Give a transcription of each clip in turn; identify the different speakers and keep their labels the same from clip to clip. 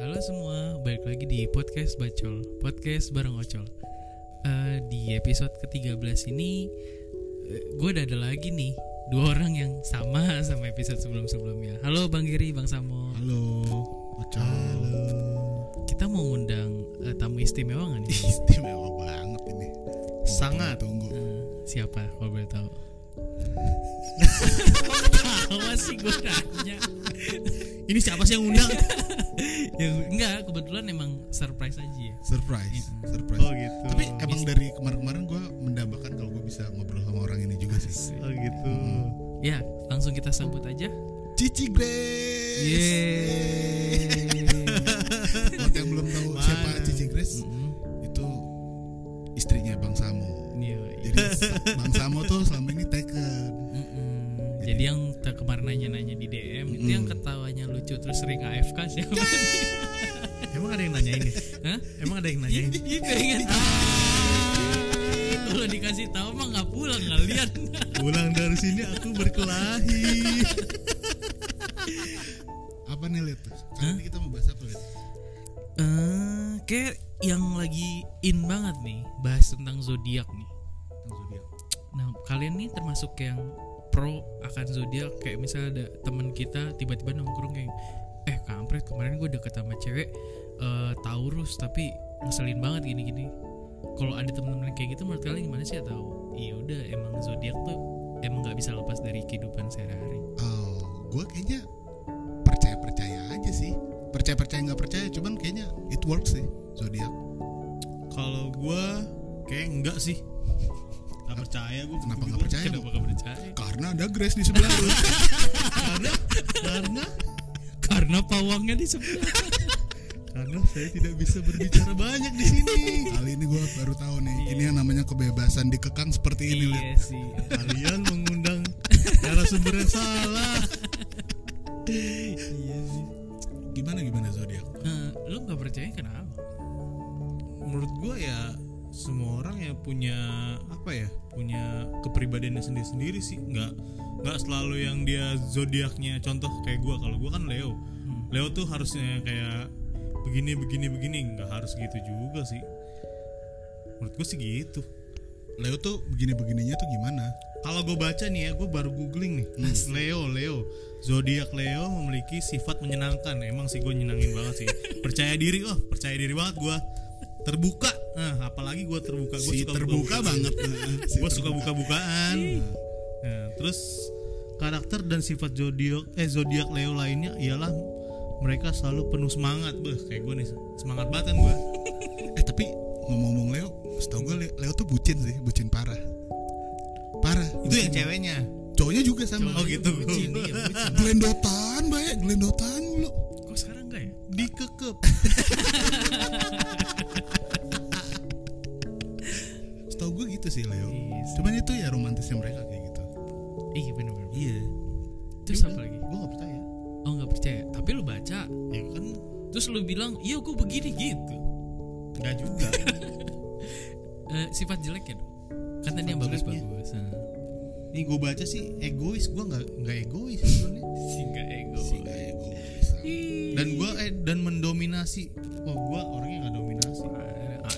Speaker 1: Halo semua, balik lagi di podcast Bacol, podcast bareng Ocol. Eh, di episode ke-13 ini gue udah ada lagi nih dua orang yang sama sama episode sebelum-sebelumnya. Halo Bang Giri, Bang Samo.
Speaker 2: Halo, Ocol.
Speaker 1: Kita mau ngundang eh, tamu istimewa gak nih?
Speaker 2: Istimewa banget ini.
Speaker 3: Sangat.
Speaker 2: tunggu.
Speaker 1: Eh, siapa kalau boleh tahu? Ketawa sih gue nanya.
Speaker 3: Ini siapa sih yang undang?
Speaker 1: Ya, enggak, kebetulan emang surprise aja ya.
Speaker 2: Surprise, surprise.
Speaker 3: oh gitu.
Speaker 2: Tapi emang dari kemarin-kemarin gue mendambakan kalau gue bisa ngobrol sama orang ini juga sih.
Speaker 3: oh gitu.
Speaker 1: Ya, langsung kita sambut aja.
Speaker 2: Cici Grace.
Speaker 3: Iya.
Speaker 2: Yeay. Buat yang belum tahu siapa Cici Grace,
Speaker 1: Mm-mm.
Speaker 3: Hmm.
Speaker 2: itu istrinya Bang Samo.
Speaker 1: Yoi.
Speaker 2: Jadi Bang Samo tuh selama ini taken.
Speaker 1: iya. Mm-mm. Jadi yang te- kemarin nanya-nanya di DM itu
Speaker 2: Mm.
Speaker 1: yang ketawanya lucu terus sering AFK siapa?
Speaker 3: Emang ada yang nanyain ya?
Speaker 1: Hah?
Speaker 3: Emang ada yang nanyain?
Speaker 1: Itu yang tahu. Ah. Kalau dikasih tahu mah nggak pulang kalian.
Speaker 3: Pulang dari sini aku berkelahi.
Speaker 2: Apa nih Lid? Kali ini kita mau bahas apa Lid?
Speaker 1: Eh, kayak yang lagi in banget nih bahas tentang zodiak nih.
Speaker 2: Tentang zodiak.
Speaker 1: Nah kalian nih termasuk yang pro akan zodiak kayak misalnya ada teman kita tiba-tiba nongkrong yang eh kampret kemarin gue deket sama cewek eh, Taurus tapi ngeselin banget gini-gini. Kalau ada teman-teman yang kayak gitu menurut kalian gimana sih atau iya udah emang zodiak tuh emang nggak bisa lepas dari kehidupan sehari-hari.
Speaker 2: Oh, gue kayaknya percaya percaya aja sih. Percaya percaya nggak percaya, cuman kayaknya it works sih zodiak.
Speaker 3: Kalau gua kayak enggak sih. Gak percaya gua
Speaker 2: Kenapa nggak percaya?
Speaker 1: Kenapa gak percaya?
Speaker 2: Karena ada Grace di sebelah lu.
Speaker 3: Karena karena
Speaker 1: Karena pawangnya di sebelah.
Speaker 3: karena saya tidak bisa berbicara banyak di sini.
Speaker 2: Kali ini gue baru tahu nih, ini yang namanya kebebasan dikekang seperti ini. Lid.
Speaker 1: iya sih.
Speaker 3: Kalian mengundang narasumber yang salah.
Speaker 1: iya sih.
Speaker 2: Gimana gimana zodiak?
Speaker 1: Eh, lu nggak percaya kenapa?
Speaker 3: menurut gua ya semua orang ya punya apa ya punya kepribadiannya sendiri-sendiri sih nggak nggak selalu yang dia zodiaknya contoh kayak gua kalau gua kan Leo
Speaker 1: Hmm.
Speaker 3: Leo tuh harusnya kayak begini begini begini nggak harus gitu juga sih menurut gua sih gitu
Speaker 2: Leo tuh begini begininya tuh gimana?
Speaker 3: kalau gue baca nih ya gue baru googling nih
Speaker 2: Hmm.
Speaker 3: Leo Leo zodiak Leo memiliki sifat menyenangkan emang sih gue nyenangin banget sih percaya diri oh percaya diri banget gue terbuka nah, apalagi gue terbuka
Speaker 2: si
Speaker 3: gue
Speaker 2: terbuka banget. Nah, si
Speaker 3: gue suka
Speaker 2: terbuka.
Speaker 3: buka-bukaan Nah, terus karakter dan sifat zodiak eh zodiak Leo lainnya ialah mereka selalu penuh semangat Beuh, kayak gue nih semangat banget kan gue
Speaker 2: Eh tapi ngomong-ngomong Leo, setahu gue Leo, Leo tuh bucin sih, bucin parah. Parah.
Speaker 3: itu yang
Speaker 2: bucin.
Speaker 3: ceweknya
Speaker 2: Cowoknya juga sama.
Speaker 3: Oh, gitu.
Speaker 1: Bucin, iya, bucin.
Speaker 2: Glendotan, baik Glendotan lu.
Speaker 1: Kok sekarang enggak ya?
Speaker 3: dikekep
Speaker 2: Setahu gue gitu sih Leo.
Speaker 1: Iya sih.
Speaker 2: Cuman itu ya romantisnya mereka kayak gitu.
Speaker 1: Iya bener-bener.
Speaker 3: iya
Speaker 1: Terus apa lagi?
Speaker 3: gue gak percaya
Speaker 1: Oh nggak percaya? Tapi lu baca,
Speaker 3: ya kan
Speaker 1: terus lu bilang, iya gue begini gitu.
Speaker 3: nggak juga
Speaker 1: Eh, sifat jelek ya dong? Kan tadi
Speaker 3: Sifat
Speaker 1: yang bagus
Speaker 3: jeleknya.
Speaker 1: bagus. Nah,
Speaker 3: Ini gue baca sih egois, gue nggak nggak egois sebenarnya.
Speaker 1: Singa ego.
Speaker 3: Dan gue eh dan mendominasi. Oh gue orangnya nggak dominasi.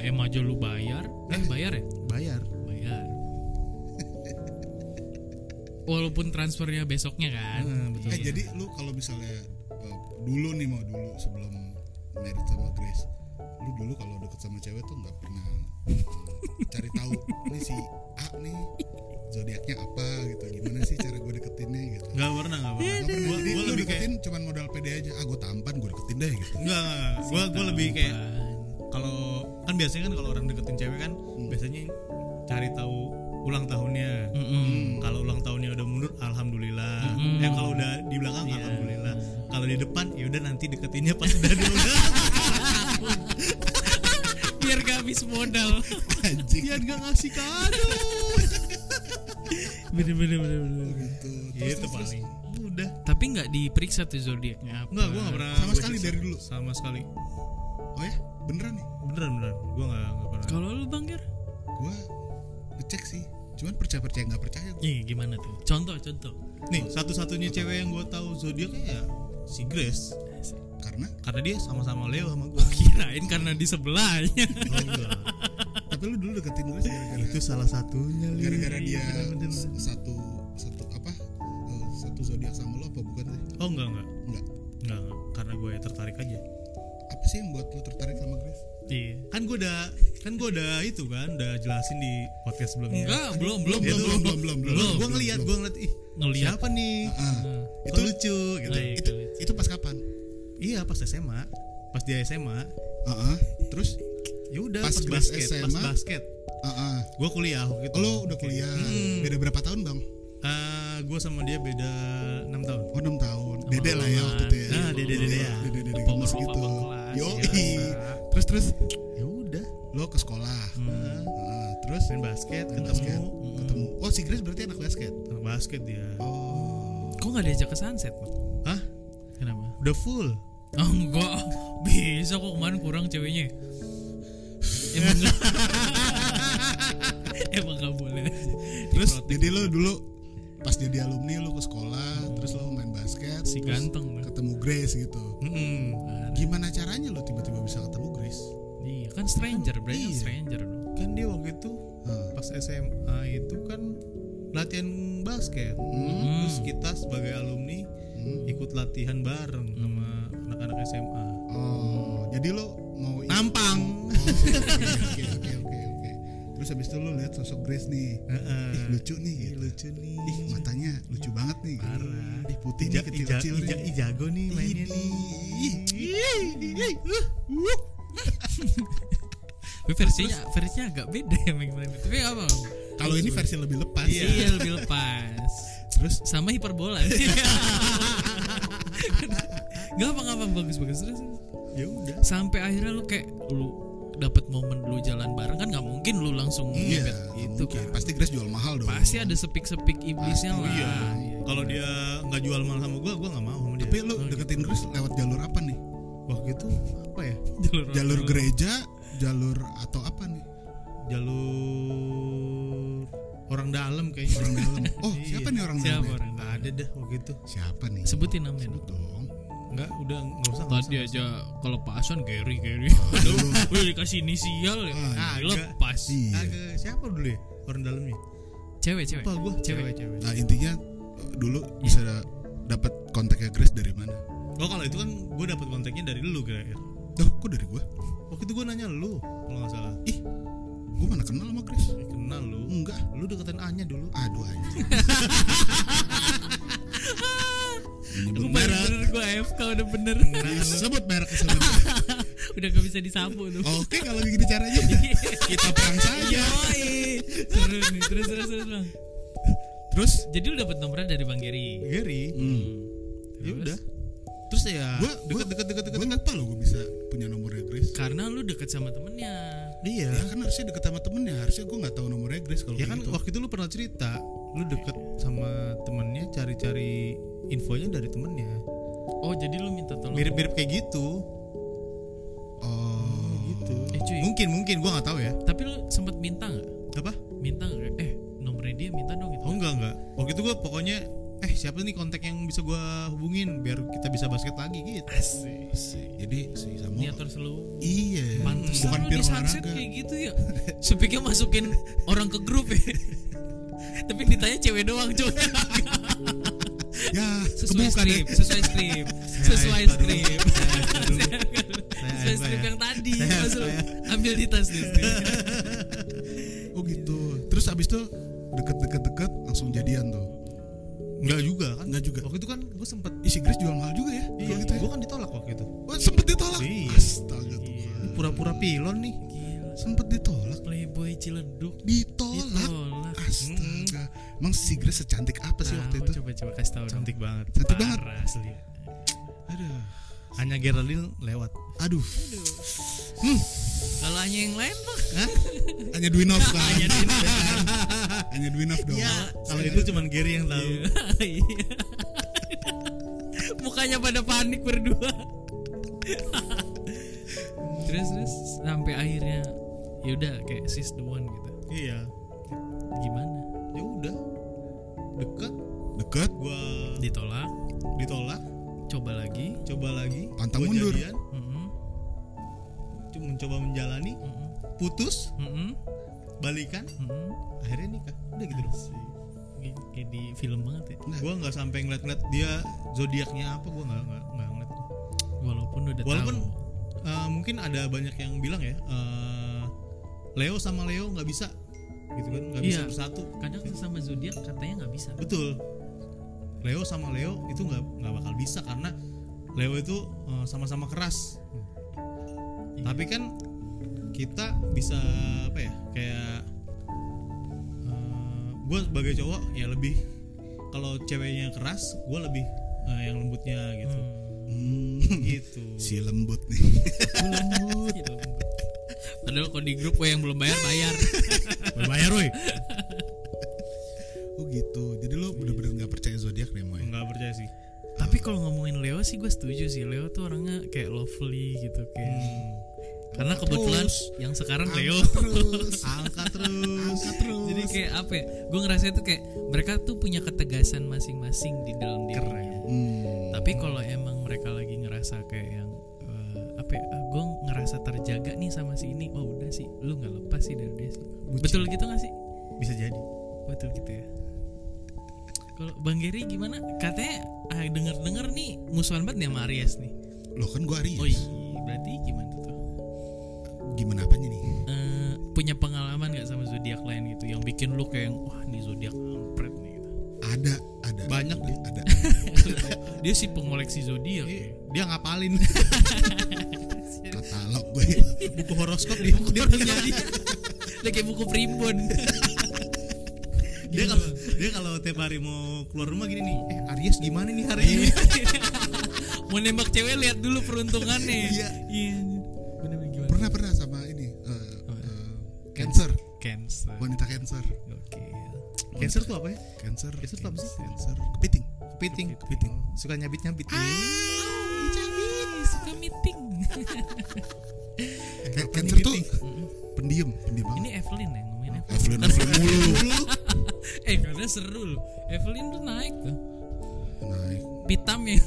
Speaker 1: AM aja Ah, lu bayar, eh bayar ya?
Speaker 3: Bayar.
Speaker 1: Bayar. Walaupun transfernya besoknya kan.
Speaker 3: Hmm, betul.
Speaker 2: Eh jadi lu kalau misalnya uh, dulu nih mau dulu sebelum married sama Grace, lu dulu kalau deket sama cewek tuh nggak pernah uh, cari tahu ini si A nih zodiaknya apa gitu, gimana sih cara gue deketinnya gitu.
Speaker 3: Nggak pernah nggak pernah.
Speaker 2: Gak pernah,
Speaker 3: Gue
Speaker 2: jadi
Speaker 3: gue
Speaker 2: lu
Speaker 3: lebih kayak
Speaker 2: deketin cuman modal pede aja, ah gue tampan gue deketin deh gitu.
Speaker 3: nggak gue gue lebih kayak
Speaker 1: Apaan?
Speaker 3: kalau kan biasanya kan kalau orang deketin cewek kan
Speaker 2: Hmm.
Speaker 3: biasanya cari tahu ulang tahunnya.
Speaker 1: Mm-mm.
Speaker 2: Hmm.
Speaker 3: Kalau ulang tahunnya udah mundur, alhamdulillah. Eh kalau udah di belakang,
Speaker 2: Iya.
Speaker 3: alhamdulillah. Kalau di depan, ya udah nanti deketinnya pas udah di
Speaker 1: Biar gak habis modal.
Speaker 2: Anjing
Speaker 3: Biar nggak ngasih kado.
Speaker 1: bener bener bener. bener.
Speaker 2: gitu. Terus,
Speaker 3: Gitu
Speaker 2: terus, terus.
Speaker 3: paling. Udah.
Speaker 1: Tapi nggak diperiksa tuh zodiaknya. apa.
Speaker 3: Enggak, gue gak pernah
Speaker 2: Nah. Sama
Speaker 3: gua
Speaker 2: sekali
Speaker 3: cek.
Speaker 2: dari dulu.
Speaker 3: Sama sekali
Speaker 2: Oh ya beneran nih,
Speaker 3: Beneran, beneran Gue gak, nggak pernah
Speaker 1: Kalau lu bang Ger?
Speaker 2: gue ngecek sih, cuman percaya percaya nggak percaya gue.
Speaker 1: Ih, gimana tuh? Contoh contoh.
Speaker 3: Nih, satu-satunya cewek yang gue tahu zodiaknya ya Si Grace
Speaker 2: karena
Speaker 3: karena dia sama-sama Leo sama gue kirain
Speaker 1: Lain karena di sebelahnya.
Speaker 2: tapi lu dulu deketin gue gara-gara Iya,
Speaker 3: itu salah satunya Li.
Speaker 2: gara-gara dia
Speaker 3: Bener-bener.
Speaker 2: s- satu satu apa eh, satu zodiak sama lo apa bukan sih
Speaker 3: oh enggak enggak
Speaker 2: enggak
Speaker 3: enggak, enggak. karena gue tertarik aja
Speaker 2: apa sih yang buat lu tertarik sama Grace
Speaker 3: iya kan gue udah kan gue udah itu kan udah jelasin di podcast sebelumnya
Speaker 1: Enggak, belum, belum,
Speaker 2: Itu
Speaker 1: belum, belum, belum.
Speaker 2: belum
Speaker 3: Oh, iya. belum gue ngeliat gue
Speaker 2: belum.
Speaker 3: ngeliat ih
Speaker 1: Ngeliat.
Speaker 3: siapa nih
Speaker 2: Ah,
Speaker 1: Nah,
Speaker 3: itu
Speaker 2: itu
Speaker 3: lucu gitu
Speaker 1: Nah, iya,
Speaker 2: itu
Speaker 1: kalau itu.
Speaker 2: itu pas kapan
Speaker 3: iya pas SMA pas dia SMA
Speaker 2: Ah, ah. terus
Speaker 3: ya udah pas,
Speaker 2: Pas Grace
Speaker 3: basket pas
Speaker 2: SMA.
Speaker 3: basket
Speaker 2: ah, ah.
Speaker 3: gue kuliah waktu itu
Speaker 2: Oh, lo udah kuliah beda berapa tahun bang
Speaker 3: gue Eh, sama dia beda 6 tahun
Speaker 2: oh enam tahun dede lah ya waktu itu ya
Speaker 3: Nah, dede-dede ya.
Speaker 2: dede dede
Speaker 1: Bapak-bapak
Speaker 2: gemes gitu
Speaker 1: abang kelas,
Speaker 2: yo Iya.
Speaker 3: biasa.
Speaker 2: terus terus
Speaker 3: ya udah
Speaker 2: lo ke sekolah
Speaker 3: Nah,
Speaker 2: Ah, terus
Speaker 3: main basket
Speaker 2: main
Speaker 3: ketemu
Speaker 2: basket ketemu oh si Grace berarti anak basket
Speaker 3: Anak basket dia
Speaker 2: oh
Speaker 1: Kok nggak diajak ke sunset, Bang?
Speaker 3: Hah?
Speaker 1: Kenapa?
Speaker 3: udah full
Speaker 1: Oh, enggak. Bisa kok kemarin kurang ceweknya. Emang enggak. Emang enggak boleh.
Speaker 2: Terus
Speaker 1: Diprotek.
Speaker 2: jadi lo dulu pas jadi alumni lo ke sekolah, terus lo main basket,
Speaker 1: si
Speaker 2: terus
Speaker 1: ganteng Bang.
Speaker 2: ketemu Grace gitu.
Speaker 3: Mm-mm.
Speaker 2: Gimana caranya lo tiba-tiba bisa ketemu Grace?
Speaker 1: Iya, kan stranger, berarti kan
Speaker 3: Iya.
Speaker 1: stranger dong.
Speaker 3: kan dia waktu itu
Speaker 2: Hah.
Speaker 3: pas SMA itu kan latihan basket
Speaker 2: Hmm.
Speaker 3: terus kita sebagai alumni
Speaker 2: Hmm.
Speaker 3: ikut latihan bareng sama anak-anak SMA
Speaker 2: Oh, jadi lo mau i- Oh,
Speaker 3: nampang
Speaker 2: Oke oke oke oke. Terus habis itu lo lihat sosok Grace nih.
Speaker 3: Heeh.
Speaker 2: Ih, lucu nih
Speaker 3: Ih,
Speaker 2: gitu.
Speaker 3: lucu nih
Speaker 2: Ih, matanya lucu banget nih. gitu.
Speaker 3: Parah.
Speaker 2: Ih, putih nih
Speaker 3: Ih, ja- ih, ja-
Speaker 2: kecil-kecil
Speaker 3: ih, ja- ih,
Speaker 2: nih.
Speaker 3: jago nih mainnya nih
Speaker 2: Ih, ih, ih, uh, uh.
Speaker 1: Tapi versinya versinya agak beda ya Bang. Tapi nggak apa?
Speaker 2: Kalau ini versi lebih lepas.
Speaker 1: Iya, lebih lepas.
Speaker 2: Terus
Speaker 1: Sama hiperbola. Gak apa-apa bagus-bagus terus. terus.
Speaker 3: ya udah
Speaker 1: sampai akhirnya lu kayak lu dapat momen lu jalan bareng kan nggak mungkin lu langsung
Speaker 2: iya,
Speaker 1: ngebet gitu
Speaker 2: mungkin.
Speaker 1: kan
Speaker 2: Pasti Grace jual mahal dong.
Speaker 1: pasti ada sepik-sepik iblisnya
Speaker 2: Pasti,
Speaker 1: lah
Speaker 2: iya.
Speaker 1: Iya.
Speaker 3: kalau dia nggak jual mahal sama gue gue nggak mau sama dia
Speaker 2: Tapi lu deketin Grace lewat jalur apa nih?
Speaker 3: waktu itu apa ya
Speaker 1: jalur
Speaker 2: Jalur gereja, jalur atau apa nih?
Speaker 3: jalur orang dalam kayaknya
Speaker 2: Orang dalam. Oh,
Speaker 3: Iya.
Speaker 2: siapa nih orang dalam?
Speaker 1: siapa
Speaker 2: ya?
Speaker 1: orang
Speaker 3: nggak
Speaker 1: dalam?
Speaker 3: ada dah waktu itu
Speaker 2: Siapa nih?
Speaker 1: sebutin namanya
Speaker 2: Sebut
Speaker 1: dong.
Speaker 2: dong.
Speaker 3: nggak udah nggak usah nggak
Speaker 1: tadi
Speaker 3: usah.
Speaker 1: aja kalau Pak Asan Gary Gary
Speaker 2: Aduh.
Speaker 1: udah dikasih inisial ya
Speaker 2: Ah,
Speaker 1: Ah,
Speaker 3: agak.
Speaker 1: lepas
Speaker 2: Iya.
Speaker 3: Agak- siapa dulu ya orang dalamnya
Speaker 1: cewek cewek
Speaker 3: apa gue
Speaker 1: Cewek.
Speaker 3: cewek
Speaker 2: Nah, intinya eh, dulu bisa dapat kontaknya Grace dari mana?
Speaker 3: oh kalau itu kan gue dapet kontaknya dari lu kira-kira
Speaker 2: Duh, kok dari gua?
Speaker 3: waktu itu gue nanya lu kalau nggak salah
Speaker 2: Ih, gua mana kenal sama Grace?
Speaker 3: Eh, kenal lu
Speaker 2: Enggak.
Speaker 3: lu deketin Anya dulu
Speaker 2: Aduh anjing.
Speaker 1: Bener,
Speaker 2: Menyebut merek.
Speaker 1: bener gue AFK udah bener
Speaker 2: Sebut merek sebut.
Speaker 1: udah gak bisa disapu tuh
Speaker 2: Oke, kalau gini caranya kita perang saja.
Speaker 1: Yoi. seru nih terus terus terus Bang.
Speaker 2: Terus
Speaker 1: jadi lu dapet nomornya dari Bang Gary
Speaker 3: Gary
Speaker 2: Hmm.
Speaker 3: ya
Speaker 1: Terus?
Speaker 3: udah terus ya
Speaker 2: Gua
Speaker 3: deket
Speaker 2: deket
Speaker 3: deket deket deket
Speaker 2: Gue lupa loh gue bisa punya nomornya Grace.
Speaker 1: karena lu deket sama temennya
Speaker 2: Ya
Speaker 3: dia
Speaker 2: kan harusnya deket sama temennya Harusnya gue gak tahu nomornya Grace kalau
Speaker 3: ya
Speaker 2: kayak
Speaker 3: Iya. kan
Speaker 2: gitu.
Speaker 3: waktu itu lu pernah cerita lu deket sama temennya cari-cari infonya dari temennya
Speaker 1: oh jadi lu minta tolong
Speaker 3: mirip-mirip kayak gitu
Speaker 2: Oh
Speaker 3: gitu
Speaker 1: eh cuy
Speaker 3: mungkin mungkin gua nggak tahu ya
Speaker 1: tapi lu sempat minta nggak
Speaker 3: apa
Speaker 1: minta nggak eh nomornya dia minta dong gitu
Speaker 3: oh enggak enggak waktu itu gua pokoknya eh siapa nih kontak yang bisa gua hubungin biar kita bisa basket lagi gitu
Speaker 1: asik
Speaker 2: Jadi si Samo
Speaker 1: niat terus lu
Speaker 2: Iya
Speaker 1: pantas
Speaker 2: Hmm. Bukan
Speaker 1: lu
Speaker 2: pir
Speaker 1: di sunset
Speaker 2: olahraga
Speaker 1: kayak gitu ya sepiknya masukin orang ke grup ya tapi ditanya cewek doang coba
Speaker 2: Ya
Speaker 1: sesuai
Speaker 2: kebuka deh
Speaker 1: skrip
Speaker 2: Ya,
Speaker 1: sesuai skrip sesuai
Speaker 3: Saya
Speaker 1: skrip Ya kan?
Speaker 3: Aifa dulu. Saya Aifa dulu.
Speaker 1: sesuai skrip
Speaker 3: Saya Aifa ya.
Speaker 1: yang tadi
Speaker 3: Saya
Speaker 1: Mas, lu
Speaker 3: Aifa
Speaker 1: ambil di tas deh skripnya.
Speaker 2: Oh gitu Terus abis itu Deket-deket-deket Langsung jadian tuh
Speaker 3: Enggak juga kan
Speaker 2: Enggak juga
Speaker 3: waktu itu kan gua sempet
Speaker 2: Ih si Grace jual mahal juga ya
Speaker 3: iya
Speaker 2: Kalau gitu ya
Speaker 3: gua kan ditolak waktu itu
Speaker 2: Wah, Sempet ditolak
Speaker 3: Iya.
Speaker 2: Astaga Tuhan
Speaker 3: Lu pura-pura pilon nih
Speaker 1: Gila,
Speaker 2: Sempet ditolak
Speaker 1: playboy ciledug
Speaker 2: Ditolak
Speaker 1: ditolak
Speaker 2: Astaga Emang si Grace secantik apa sih
Speaker 1: Tahu,
Speaker 2: waktu itu
Speaker 1: Nah, coba coba kasih tahu dong.
Speaker 3: cantik banget
Speaker 2: Cantik banget
Speaker 1: Parah, asli ya.
Speaker 2: Aduh
Speaker 3: Anya Geraldine lewat
Speaker 2: Aduh
Speaker 1: kalau hanya yang lain tuh
Speaker 2: Hanya Dwinov kan Hanya Dwinov dong
Speaker 3: Iya,
Speaker 2: gitu,
Speaker 3: kalau itu cuman Gary yang tahu
Speaker 1: Iya. mukanya pada panik berdua terus terus sampai akhirnya yaudah kayak sis the one gitu
Speaker 3: iya
Speaker 1: gimana
Speaker 3: ya udah deket
Speaker 2: Deket
Speaker 3: gua
Speaker 1: ditolak
Speaker 3: ditolak
Speaker 1: coba lagi
Speaker 3: coba lagi
Speaker 2: Pantang
Speaker 3: gua
Speaker 2: mundur.
Speaker 3: jadian,
Speaker 1: Mm-mm,
Speaker 3: cuma mencoba menjalani
Speaker 1: mm-mm,
Speaker 3: putus
Speaker 1: mm-mm,
Speaker 3: balikan
Speaker 1: mm-mm.
Speaker 3: akhirnya nikah udah gitu loh
Speaker 1: Kayak- kayak di film banget ya
Speaker 3: gue nggak sampai ngeliat-ngeliat dia zodiaknya apa gue nggak nggak nggak ngeliat
Speaker 1: walaupun udah
Speaker 3: Walaupun
Speaker 1: tahu
Speaker 3: Eh, mungkin ada banyak yang bilang ya eh, Leo sama Leo nggak bisa gitu kan nggak bisa
Speaker 1: Iya.
Speaker 3: bersatu
Speaker 1: kadang sama zodiak katanya nggak bisa
Speaker 3: betul Leo sama Leo itu nggak nggak bakal bisa karena Leo itu eh, sama-sama keras
Speaker 1: Iya.
Speaker 3: tapi kan kita bisa apa ya kayak gue sebagai cowok ya lebih kalau ceweknya keras gue lebih eh, yang lembutnya gitu
Speaker 1: Hmm.
Speaker 2: Hmm,
Speaker 3: gitu
Speaker 2: si lembut nih
Speaker 1: lembut Hmm, gitu. padahal kalau di grup gue yang belum bayar bayar
Speaker 3: bayar woi
Speaker 2: oh gitu jadi lu bener-bener nggak percaya zodiak nih moy
Speaker 3: nggak percaya sih
Speaker 1: tapi kalau ngomongin Leo sih gue setuju sih Leo tuh orangnya kayak lovely gitu kayak
Speaker 3: Hmm.
Speaker 1: karena kebetulan
Speaker 2: Terus.
Speaker 1: yang sekarang
Speaker 2: Angkat
Speaker 1: Leo
Speaker 2: terus
Speaker 3: angkat terus
Speaker 2: angkat terus
Speaker 1: jadi kayak apa ya gue ngerasa itu kayak mereka tuh punya ketegasan masing-masing di dalam dirinya
Speaker 2: Hmm.
Speaker 1: tapi kalau emang mereka lagi ngerasa kayak yang eh, apa ya gue ngerasa terjaga nih sama si ini oh udah sih lu nggak lepas sih dari dia sih betul gitu gak sih
Speaker 3: bisa jadi
Speaker 1: betul gitu ya kalau bang Geri gimana katanya ah, denger denger nih musuhan banget nih sama Aries nih
Speaker 2: Loh kan gua Aries
Speaker 1: oh iya berarti gimana tuh
Speaker 2: Gimana apanya nih
Speaker 1: Eh, punya pengalaman gak sama zodiak lain gitu yang bikin lu kayak yang, wah nih zodiak kampret nih gitu.
Speaker 2: Ada Ada
Speaker 3: Banyak dia.
Speaker 2: Ada
Speaker 1: dia sih pengoleksi zodiak
Speaker 2: Iya.
Speaker 1: ya.
Speaker 3: Iya, dia ngapalin
Speaker 2: Katalog gue
Speaker 3: buku horoskop dia
Speaker 2: Iya.
Speaker 1: dia punya dia dia kayak buku primbon
Speaker 3: dia kalau dia kalau tiap hari mau keluar rumah gini nih eh Aries gimana nih hari
Speaker 2: Iya.
Speaker 3: ini
Speaker 1: mau nembak cewek lihat dulu peruntungannya
Speaker 2: Iya.
Speaker 1: iya bener gimana
Speaker 2: Pernah pernah sama ini eh,
Speaker 1: Apa?
Speaker 2: eh, Cancer
Speaker 1: cancer
Speaker 2: Wanita cancer
Speaker 1: oke
Speaker 3: cancer tuh apa ya
Speaker 2: Cancer
Speaker 3: Cancer tuh apa sih?
Speaker 2: Cancer Kepiting
Speaker 3: kepiting
Speaker 2: Kepiting.
Speaker 3: suka nyabit nyabit
Speaker 1: Ih, suka meeting
Speaker 2: Kayak Cancer tuh
Speaker 1: Mm-mm.
Speaker 2: pendiam Pendiam banget
Speaker 1: ini Evelyn ya ngomongin Evelyn
Speaker 2: Evelyn Evelyn mulu
Speaker 1: eh karena seru loh Evelyn tuh naik tuh
Speaker 2: Naik
Speaker 1: pitam ya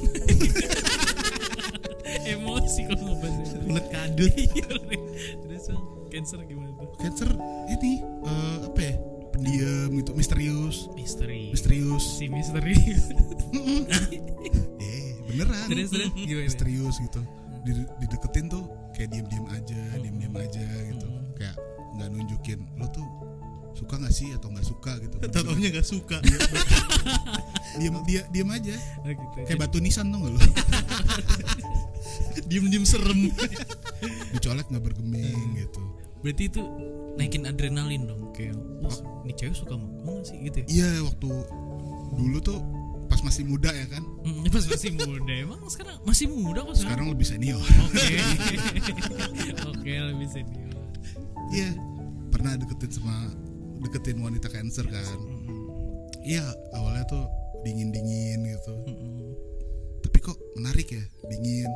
Speaker 1: emosi kalau ngebahas Evelyn.
Speaker 3: kulit kadut
Speaker 1: Iya, Ren. terus Bang, cancer gimana tuh
Speaker 2: Cancer ini eh, apa ya pendiam gitu misterius
Speaker 1: misteri
Speaker 2: misterius
Speaker 1: si misteri
Speaker 2: eh beneran
Speaker 1: terus terus gimana
Speaker 2: misterius gitu Di- dideketin tuh kayak diem diem aja diem diem aja gitu kayak nggak nunjukin lo tuh suka nggak sih atau nggak suka gitu
Speaker 3: tau taunya gak suka
Speaker 2: diem dia diem aja
Speaker 1: Nah, gitu.
Speaker 2: kayak batu nisan tuh nggak lo
Speaker 3: diem diem serem
Speaker 2: dicolek nggak bergeming gitu
Speaker 1: berarti itu naikin adrenalin dong kayak wah ini cewek suka sama gue gak sih gitu ya
Speaker 2: iya waktu dulu tuh pas masih muda ya kan
Speaker 1: Mm, pas masih muda emang sekarang masih muda kok sekarang
Speaker 2: sekarang lebih senior
Speaker 1: oke oke lebih senior
Speaker 2: iya pernah deketin sama deketin wanita cancer kan
Speaker 1: Mm,
Speaker 2: iya awalnya tuh dingin dingin gitu
Speaker 1: Mm-mm.
Speaker 2: tapi kok menarik ya dingin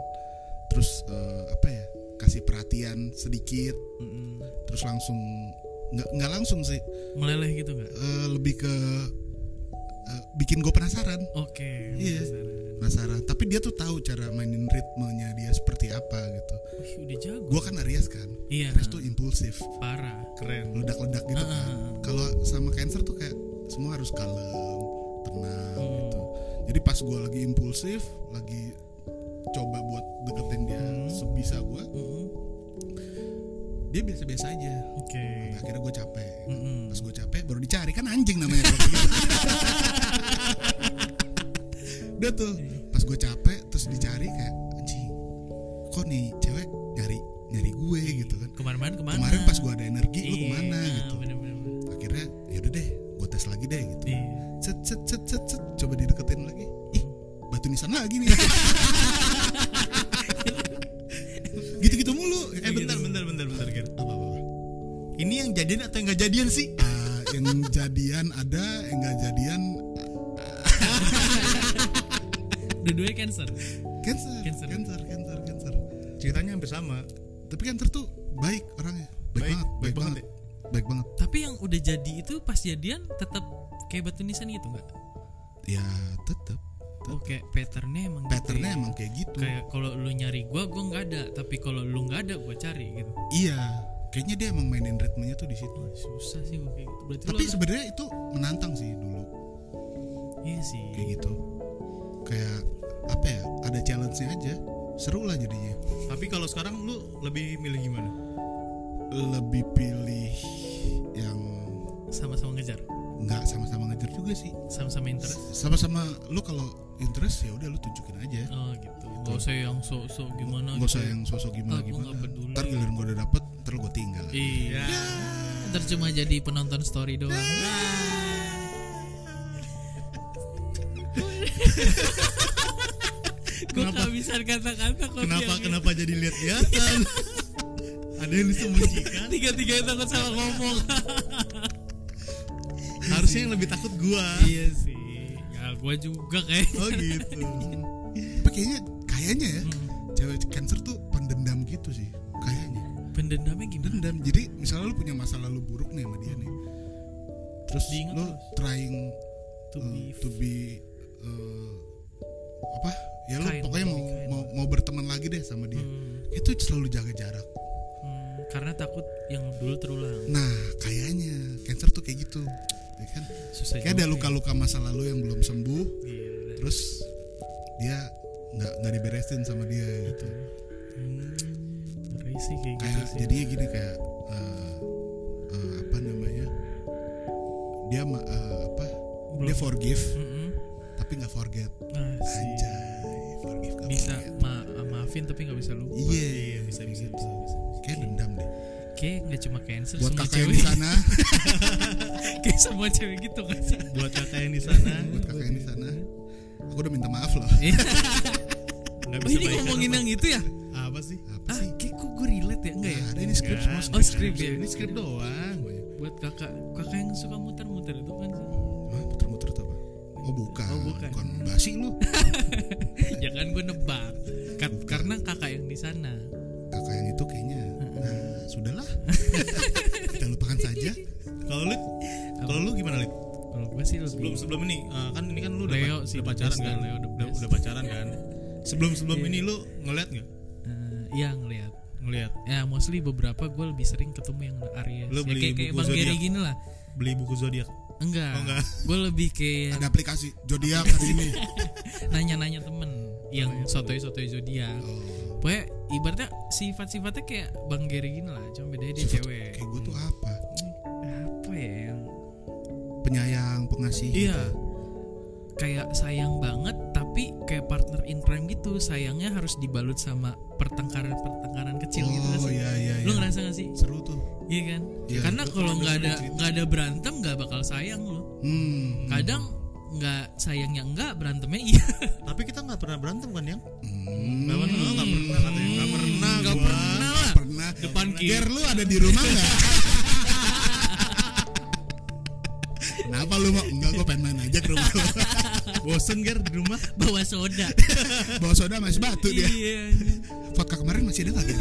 Speaker 2: terus eh, apa ya kasih perhatian sedikit
Speaker 1: Mm-mm.
Speaker 2: terus langsung nggak nggak langsung sih
Speaker 1: meleleh gitu gak
Speaker 2: eh, lebih ke eh, bikin gue penasaran
Speaker 1: oke
Speaker 2: Iya.
Speaker 1: penasaran.
Speaker 2: penasaran tapi dia tuh tahu cara mainin ritmenya dia seperti apa gitu
Speaker 1: Wih, udah jago
Speaker 2: gue kan Aries kan
Speaker 1: iya
Speaker 2: Aries tuh impulsif
Speaker 1: parah
Speaker 3: keren
Speaker 2: ledak-ledak gitu
Speaker 1: Ah,
Speaker 2: kan
Speaker 1: ah, ah.
Speaker 2: kalau sama cancer tuh kayak semua harus kalem tenang
Speaker 1: Hmm.
Speaker 2: gitu jadi pas gue lagi impulsif lagi coba buat deketin dia
Speaker 1: Hmm.
Speaker 2: sebisa gue
Speaker 1: Mm-mm.
Speaker 2: dia biasa-biasa aja
Speaker 1: oke
Speaker 2: Sampai akhirnya gue capek
Speaker 1: Mm-mm.
Speaker 2: pas gue capek baru dicari kan anjing namanya kalau begitu. udah tuh
Speaker 1: Iya.
Speaker 2: pas gue capek terus dicari kayak anjing kok nih cewek nyari nyari gue gitu kan
Speaker 1: kemarin kemana
Speaker 2: kemarin pas gue ada energi lu kemana
Speaker 1: Iya,
Speaker 2: gitu
Speaker 1: bener-bener.
Speaker 2: akhirnya yaudah deh gue tes lagi deh gitu
Speaker 1: Iya.
Speaker 2: cet cet cet cet cet coba dideketin lagi ih batu nisan lagi nih gitu gitu mulu
Speaker 1: Iya,
Speaker 3: eh bentar bentar bentar bentar Ger.
Speaker 2: apa apa, apa.
Speaker 3: ini yang jadian atau yang gak jadian sih
Speaker 2: Ah, yang jadian ada yang nggak jadian
Speaker 1: dua-duanya cancer
Speaker 2: cancer
Speaker 1: Cancer.
Speaker 2: cancer cancer cancer, cancer.
Speaker 3: ceritanya hampir sama
Speaker 2: tapi cancer tuh baik orangnya baik,
Speaker 3: Baik,
Speaker 2: banget
Speaker 3: baik
Speaker 2: baik
Speaker 3: banget
Speaker 2: banget, baik banget
Speaker 1: tapi yang udah jadi itu pas jadian tetap kayak batu nisan gitu nggak
Speaker 2: ya tetep tetep.
Speaker 1: oke kayak patternnya emang
Speaker 2: patternnya
Speaker 1: gitu ya.
Speaker 2: emang kayak gitu
Speaker 1: kayak kalau lu nyari gua gua nggak ada tapi kalau lu nggak ada gua cari gitu
Speaker 2: iya kayaknya dia emang mainin ritmenya tuh di situ
Speaker 1: Wah, susah sih gua kayak gitu berarti lu
Speaker 2: tapi
Speaker 1: harus-
Speaker 2: sebenarnya itu menantang sih dulu
Speaker 1: iya sih
Speaker 2: kayak gitu kayak apa ya ada challenge-nya aja seru lah jadinya
Speaker 3: Tapi kalau sekarang lu lebih milih gimana?
Speaker 2: lebih pilih yang
Speaker 1: sama-sama ngejar
Speaker 2: nggak sama-sama ngejar juga sih
Speaker 1: sama-sama interest
Speaker 2: sama-sama lu kalau interest ya udah lu tunjukin aja
Speaker 1: oh gitu gak usah yang sok-sok gimana
Speaker 2: nggak usah
Speaker 1: gitu.
Speaker 2: yang sosok gimana
Speaker 1: Ah, gua
Speaker 2: gimana
Speaker 1: nggak peduli.
Speaker 2: ntar giliran gue udah dapet ntar gue tinggal
Speaker 1: iya ntar cuma jadi penonton story doang gua
Speaker 3: Kenapa?
Speaker 1: kehabisan kata-kata kok
Speaker 3: Kenapa
Speaker 1: bilang
Speaker 3: kenapa jadi lihat-lihatan? Ada yang disembunyikan.
Speaker 1: tiga-tiga takut salah ngomong
Speaker 3: Harusnya yang lebih takut gua.
Speaker 1: iya sih ya gua juga kayak
Speaker 3: Oh gitu.
Speaker 2: tapi kayaknya kayaknya
Speaker 1: Hmm.
Speaker 2: ya cewek cancer tuh pendendam gitu sih kayaknya
Speaker 1: pendendamnya gimana
Speaker 2: dendam jadi misalnya lu punya masa lalu buruk nih sama dia nih terus
Speaker 1: Diingat
Speaker 2: lu
Speaker 1: terus.
Speaker 2: trying
Speaker 1: To
Speaker 2: uh,
Speaker 1: be-
Speaker 2: to be, uh, apa ya lu
Speaker 1: Kind,
Speaker 2: pokoknya
Speaker 1: to be
Speaker 2: mau,
Speaker 1: kind.
Speaker 2: mau mau berteman lagi deh sama dia
Speaker 1: Hmm,
Speaker 2: itu selalu jaga jarak
Speaker 1: hmm, karena takut yang dulu terulang
Speaker 2: nah kayaknya cancer tuh kayak gitu ya kan
Speaker 1: susah
Speaker 2: kayak ada
Speaker 1: juga.
Speaker 2: luka-luka masa lalu yang belum sembuh
Speaker 1: Gila.
Speaker 2: terus dia nggak nggak diberesin sama dia gitu
Speaker 1: Hmm, ngeri sih kayak gitu
Speaker 2: kayak
Speaker 1: sih.
Speaker 2: jadinya gini kayak eh, eh, apa namanya dia ma- eh, apa
Speaker 1: Belum-
Speaker 2: dia forgive
Speaker 1: Mm-mm.
Speaker 2: tapi nggak forget
Speaker 1: Nah, sih.
Speaker 2: anjay forgive nggak
Speaker 1: bisa
Speaker 2: forget.
Speaker 1: ma- maafin tapi nggak bisa lupa
Speaker 2: iya
Speaker 3: Iya, bisa bisa bisa. bisa.
Speaker 2: kayak dendam deh
Speaker 1: kayak nggak cuma cancer
Speaker 2: buat
Speaker 1: semua
Speaker 2: kakak yang
Speaker 1: cewek
Speaker 2: di sana
Speaker 1: kayak semua cewek gitu kan sih
Speaker 3: Buat kakak yang di sana
Speaker 2: buat kakak yang di sana aku udah minta maaf loh
Speaker 3: nggak
Speaker 1: oh
Speaker 3: bisa
Speaker 1: ini
Speaker 3: baikan
Speaker 1: ngomongin
Speaker 3: apa-
Speaker 1: yang itu ya
Speaker 3: apa sih?
Speaker 2: apa
Speaker 1: ah
Speaker 2: sih
Speaker 1: kayak kok gue relate ya enggak ya
Speaker 2: Nggak ada ini skrip semua
Speaker 3: Nggak,
Speaker 1: oh skrip ya
Speaker 3: Ini skrip doang.
Speaker 1: buat kakak kakak yang suka muter-muter itu kan sih
Speaker 2: Hah, muter-muter tuh apa oh bukan
Speaker 1: Oh, bukan.
Speaker 2: basi lu
Speaker 1: ya kan gue nebak Ka- karena kakak yang di sana
Speaker 2: kakak yang itu kayaknya nah sudahlah kita lupakan saja
Speaker 3: Kalau lu kalau lu gimana, Lid?
Speaker 1: kalau gue sih
Speaker 3: Sebelum
Speaker 1: lebih
Speaker 3: sebelum ini eh, kan ini kan lu udah,
Speaker 1: Leo
Speaker 3: udah
Speaker 1: sih, the
Speaker 3: pacaran
Speaker 1: best
Speaker 3: kan?
Speaker 1: kan, Leo the
Speaker 3: udah,
Speaker 1: best.
Speaker 3: udah pacaran kan? Sebelum sebelum
Speaker 1: Iya.
Speaker 3: ini lu ngeliat nggak?
Speaker 1: eh, ya ngelihat
Speaker 3: Ngeliat
Speaker 1: ya mostly beberapa gue lebih sering ketemu yang Aries
Speaker 3: Lu
Speaker 1: ya,
Speaker 3: beli
Speaker 1: kayak, kayak
Speaker 3: buku
Speaker 1: bang Gary
Speaker 3: zodiak?
Speaker 1: gini lah
Speaker 3: beli buku zodiak.
Speaker 1: enggak,
Speaker 3: Oh, enggak.
Speaker 1: gue lebih kayak
Speaker 2: ada aplikasi zodiak hari ini
Speaker 1: nanya-nanya temen yang
Speaker 3: Oh, iya.
Speaker 1: sotoy-sotoy zodiak
Speaker 2: oh,
Speaker 1: pokoknya ibaratnya sifat-sifatnya kayak bang Gary gini lah cuma bedanya dia
Speaker 2: sifat
Speaker 1: cewek Hmm.
Speaker 2: kayak gue tuh apa
Speaker 1: apa ya yang-
Speaker 2: penyayang pengasih
Speaker 1: iya
Speaker 2: gitu.
Speaker 1: kayak sayang banget tapi kayak partner in crime gitu sayangnya harus dibalut sama pertengkaran-pertengkaran kecil gitu
Speaker 2: oh
Speaker 1: nggak sih?
Speaker 2: iya iya iya
Speaker 1: lu ngerasa gak sih
Speaker 2: seru tuh
Speaker 1: iya kan
Speaker 2: Iya,
Speaker 1: karena
Speaker 2: gua
Speaker 1: kalau
Speaker 2: pernah
Speaker 1: nggak ada
Speaker 2: dengerin cerita.
Speaker 1: nggak ada berantem nggak bakal sayang lu
Speaker 2: hmm
Speaker 1: kadang nggak sayangnya enggak berantemnya iya
Speaker 3: Tapi kita nggak pernah berantem kan, Yang?
Speaker 2: hmm.
Speaker 3: Nggak pernah, nggak pernah katanya. Nggak pernah,
Speaker 2: nggak
Speaker 3: gua.
Speaker 2: pernah lah pernah
Speaker 1: depan
Speaker 2: Ger
Speaker 1: kiri
Speaker 2: lu ada di rumah nggak Kenapa lu mau? Enggak, gue pengen main aja ke rumah lu.
Speaker 3: Bosen Ger di rumah.
Speaker 1: bawa soda
Speaker 2: Bawa soda masih batu dia
Speaker 1: iya
Speaker 2: Vodka kemarin masih ada lagi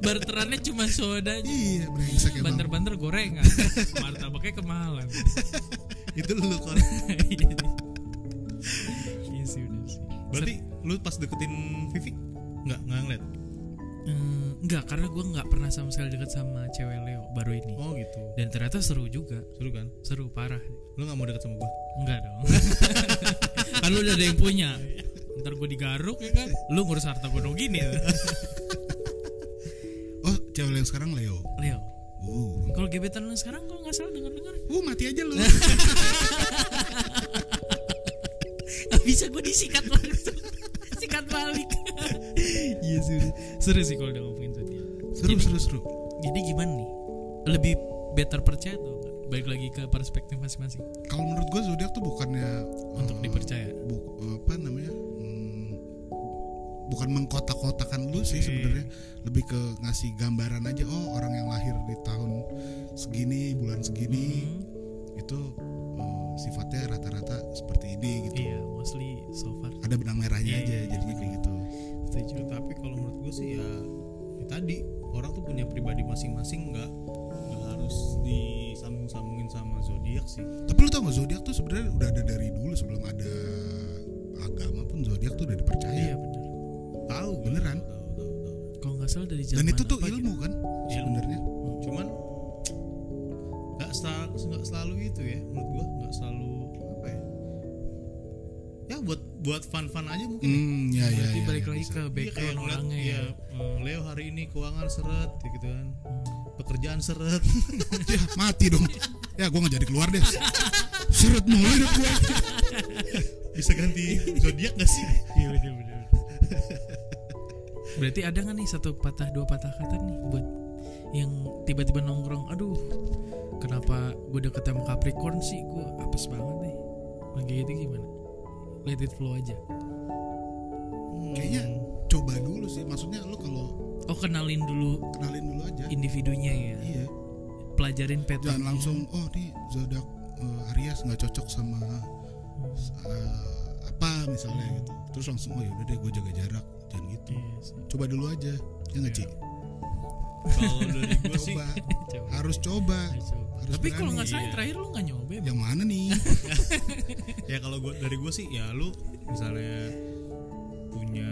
Speaker 1: barterannya cuma soda aja
Speaker 2: Iya, brengsek ya bang
Speaker 1: banter-banter gorengan martabaknya kemahalan
Speaker 3: Itu lu kan.
Speaker 1: iya sih udah sih
Speaker 3: Berarti lu pas deketin Vivi nggak nggak ngeliat?
Speaker 1: Eh, enggak karena gue nggak pernah sama sekali deket sama cewek Leo baru ini
Speaker 3: Oh gitu.
Speaker 1: dan ternyata seru juga
Speaker 3: Seru kan?
Speaker 1: seru parah
Speaker 3: Lu nggak mau deket sama gua?
Speaker 1: enggak dong kan lu udah ada yang punya ntar gue digaruk ya Iya. kan lu ngurus harta gono gini ya
Speaker 2: Oh, cewek lu yang sekarang Leo
Speaker 1: Leo
Speaker 2: Uh,
Speaker 1: kalau gebetan lu sekarang gue nggak salah denger dengar
Speaker 2: uh mati aja lu
Speaker 1: bisa gue disikat langsung sikat balik iya sih udah. seru sih kalau udah ngomongin zodiak
Speaker 2: Seru,
Speaker 1: Jadi-
Speaker 2: seru, seru
Speaker 1: jadi gimana nih lebih better percaya atau enggak balik lagi ke perspektif masing-masing
Speaker 2: Kalau menurut gue zodiak tuh bukannya
Speaker 1: untuk
Speaker 2: eh,
Speaker 1: dipercaya
Speaker 2: bu- apa namanya hmm, bukan mengkotak-kotakan lu sih
Speaker 1: Oke.
Speaker 2: sebenarnya lebih ke ngasih gambaran aja oh orang yang lahir di tahun segini bulan segini
Speaker 1: Mhm.
Speaker 2: itu eh, sifatnya rata-rata seperti ini gitu
Speaker 1: iya mostly so far
Speaker 2: ada benang merahnya
Speaker 1: Iya,
Speaker 2: aja
Speaker 1: iya.
Speaker 2: jadinya kayak gitu
Speaker 3: Setuju. Tapi kalau menurut gua sih ya, ya tadi orang tuh punya pribadi masing-masing nggak nggak harus disambung-sambungin sama zodiak sih.
Speaker 2: tapi lu tau gak zodiak tuh sebenarnya udah ada dari dulu sebelum ada tahun zodiak tuh udah dipercaya.
Speaker 1: iya benar
Speaker 2: Tahu beneran.
Speaker 3: Tahu, tahu, tahu.
Speaker 1: kalau nggak salah dari zaman
Speaker 2: Dan itu tuh
Speaker 1: apa gitu?
Speaker 2: ilmu kan
Speaker 3: gitu? Ilmu.
Speaker 2: sebenarnya.
Speaker 3: cuman nggak selalu nggak selalu itu ya menurut gua nggak selalu apa ya ya buat buat fun fun aja mungkin
Speaker 2: Hmm, ya
Speaker 1: gitu.
Speaker 2: ya.
Speaker 1: berarti
Speaker 2: ya,
Speaker 1: balik
Speaker 2: ya,
Speaker 1: lagi
Speaker 2: bisa.
Speaker 1: ke
Speaker 3: Iya,
Speaker 1: background
Speaker 3: ngeliat,
Speaker 1: orangnya
Speaker 3: iya,
Speaker 1: ya
Speaker 3: eh, Leo hari ini keuangan seret ya gitu kan pekerjaan seret
Speaker 2: Ya, mati dong. Ya gua nggak jadi keluar deh. Seret mulu hidup gua.
Speaker 3: bisa ganti zodiak gak sih
Speaker 1: iya benar benar berarti ada nggak nih satu patah dua patah kata nih buat yang tiba-tiba nongkrong aduh kenapa gue deket sama Capricorn sih gue apes banget nih lagi gitu gimana let it flow aja
Speaker 3: Hmm.
Speaker 2: Kayaknya coba dulu sih. Maksudnya lu kalau
Speaker 1: oh kenalin dulu
Speaker 2: kenalin dulu aja.
Speaker 1: individunya ya
Speaker 2: Iya.
Speaker 1: pelajarin pattern
Speaker 3: Iya.
Speaker 2: Jangan langsung oh nih zodiak eh, Aries nggak cocok sama
Speaker 1: Hmm,
Speaker 2: eh, apa misalnya gitu. Terus langsung oh yaudah deh gua jaga jarak. Jangan gitu.
Speaker 3: Iya.
Speaker 2: Coba dulu aja. Ya nggak Ci?
Speaker 3: kalau dari gua Iya. sih
Speaker 2: Coba. Harus coba. Harus
Speaker 1: tapi kalau
Speaker 2: berani.
Speaker 1: nggak salah
Speaker 3: iya.
Speaker 1: terakhir lu nggak nyoba ya?
Speaker 2: yang mana nih?
Speaker 3: ya kalau gua dari gua sih ya lu misalnya punya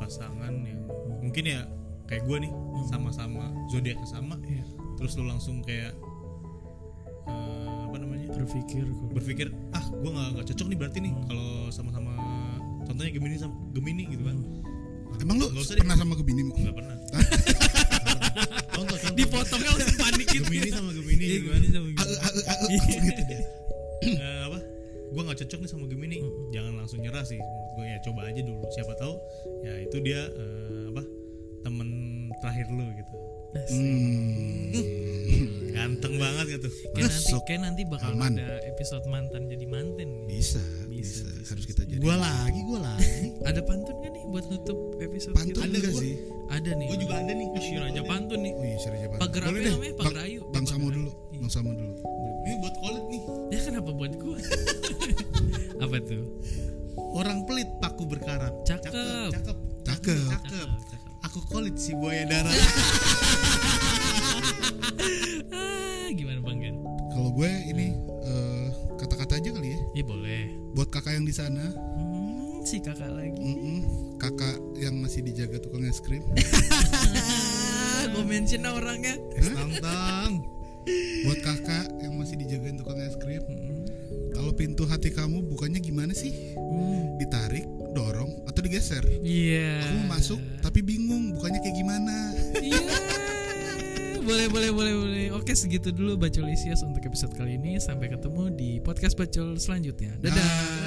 Speaker 3: pasangan yang mungkin ya kayak gua nih sama-sama zodiaknya sama
Speaker 1: Iya.
Speaker 3: terus lu langsung kayak eh, apa namanya
Speaker 1: berpikir
Speaker 3: berpikir ah gue nggak nggak cocok nih berarti nih kalau sama-sama contohnya gemini sama gemini gitu
Speaker 1: Hmm.
Speaker 3: kan
Speaker 2: Emang lu
Speaker 3: Nggak usah deh.
Speaker 2: pernah sama Gebini mau?
Speaker 3: nggak pernah contoh contoh
Speaker 1: dipotongnya langsung panik gitu
Speaker 3: gemini sama gemini
Speaker 1: Iya,
Speaker 3: gitu kan
Speaker 1: gimana sama gimana?
Speaker 2: gitu deh.
Speaker 3: Eh, apa gue nggak cocok nih sama gemini jangan langsung nyerah sih menurut gue ya coba aja dulu siapa tahu ya itu dia eh, apa temen terakhir lu gitu
Speaker 1: Nah,
Speaker 2: Hmm.
Speaker 3: ganteng banget gitu
Speaker 1: kayak nanti
Speaker 2: Masuk.
Speaker 1: kayak nanti bakal
Speaker 2: Aman.
Speaker 1: ada episode mantan gitu. jadi manten
Speaker 2: Bisa,
Speaker 1: Bisa,
Speaker 2: bisa,
Speaker 1: bisa,
Speaker 2: harus kita jadi.
Speaker 3: gue lagi gue lagi
Speaker 1: ada pantun gak nih buat nutup episode
Speaker 2: Gitu. pantun
Speaker 1: kita?
Speaker 2: enggak
Speaker 1: Gua-
Speaker 2: sih?
Speaker 1: ada nih
Speaker 3: gue juga ada nih
Speaker 1: Syur aja pantun nih
Speaker 2: Oh iya, seri aja pantun.
Speaker 1: Pagar apa
Speaker 2: Boleh deh,
Speaker 1: namanya?
Speaker 2: Bang-
Speaker 1: Pagar ayu.
Speaker 2: Bang Samo
Speaker 1: Pagar Iya.
Speaker 2: dulu,
Speaker 1: ayu.
Speaker 2: Bang Samo dulu.
Speaker 3: ini buat kolit nih
Speaker 1: ya kenapa buat gua apa tuh
Speaker 3: orang pelit paku berkarat
Speaker 1: Cakep.
Speaker 3: cakep
Speaker 2: Cakep.
Speaker 3: cakep aku kolit si buaya darat
Speaker 1: ah gimana bang Gan
Speaker 2: Kalau gue ini eh, kata-kata aja kali ya.
Speaker 1: ya boleh
Speaker 2: Buat kakak yang di sana,
Speaker 1: hmm, si kakak lagi
Speaker 2: mm-mm, kakak yang masih dijaga tukang es krim,
Speaker 1: ah gua mention orangnya
Speaker 3: tang
Speaker 2: buat kakak yang masih dijagain tukang es krim,
Speaker 1: Hmm.
Speaker 2: kalau pintu hati kamu bukannya gimana sih?
Speaker 1: Hmm.
Speaker 2: Ditarik, dorong, atau digeser?
Speaker 1: Iya.
Speaker 2: Aku mau masuk tapi bingung bukannya kayak gimana.
Speaker 1: Iya. boleh boleh boleh boleh. Oke segitu dulu Bacol Isias untuk episode kali ini. Sampai ketemu di podcast Bacol selanjutnya. Dadah.
Speaker 2: Dah.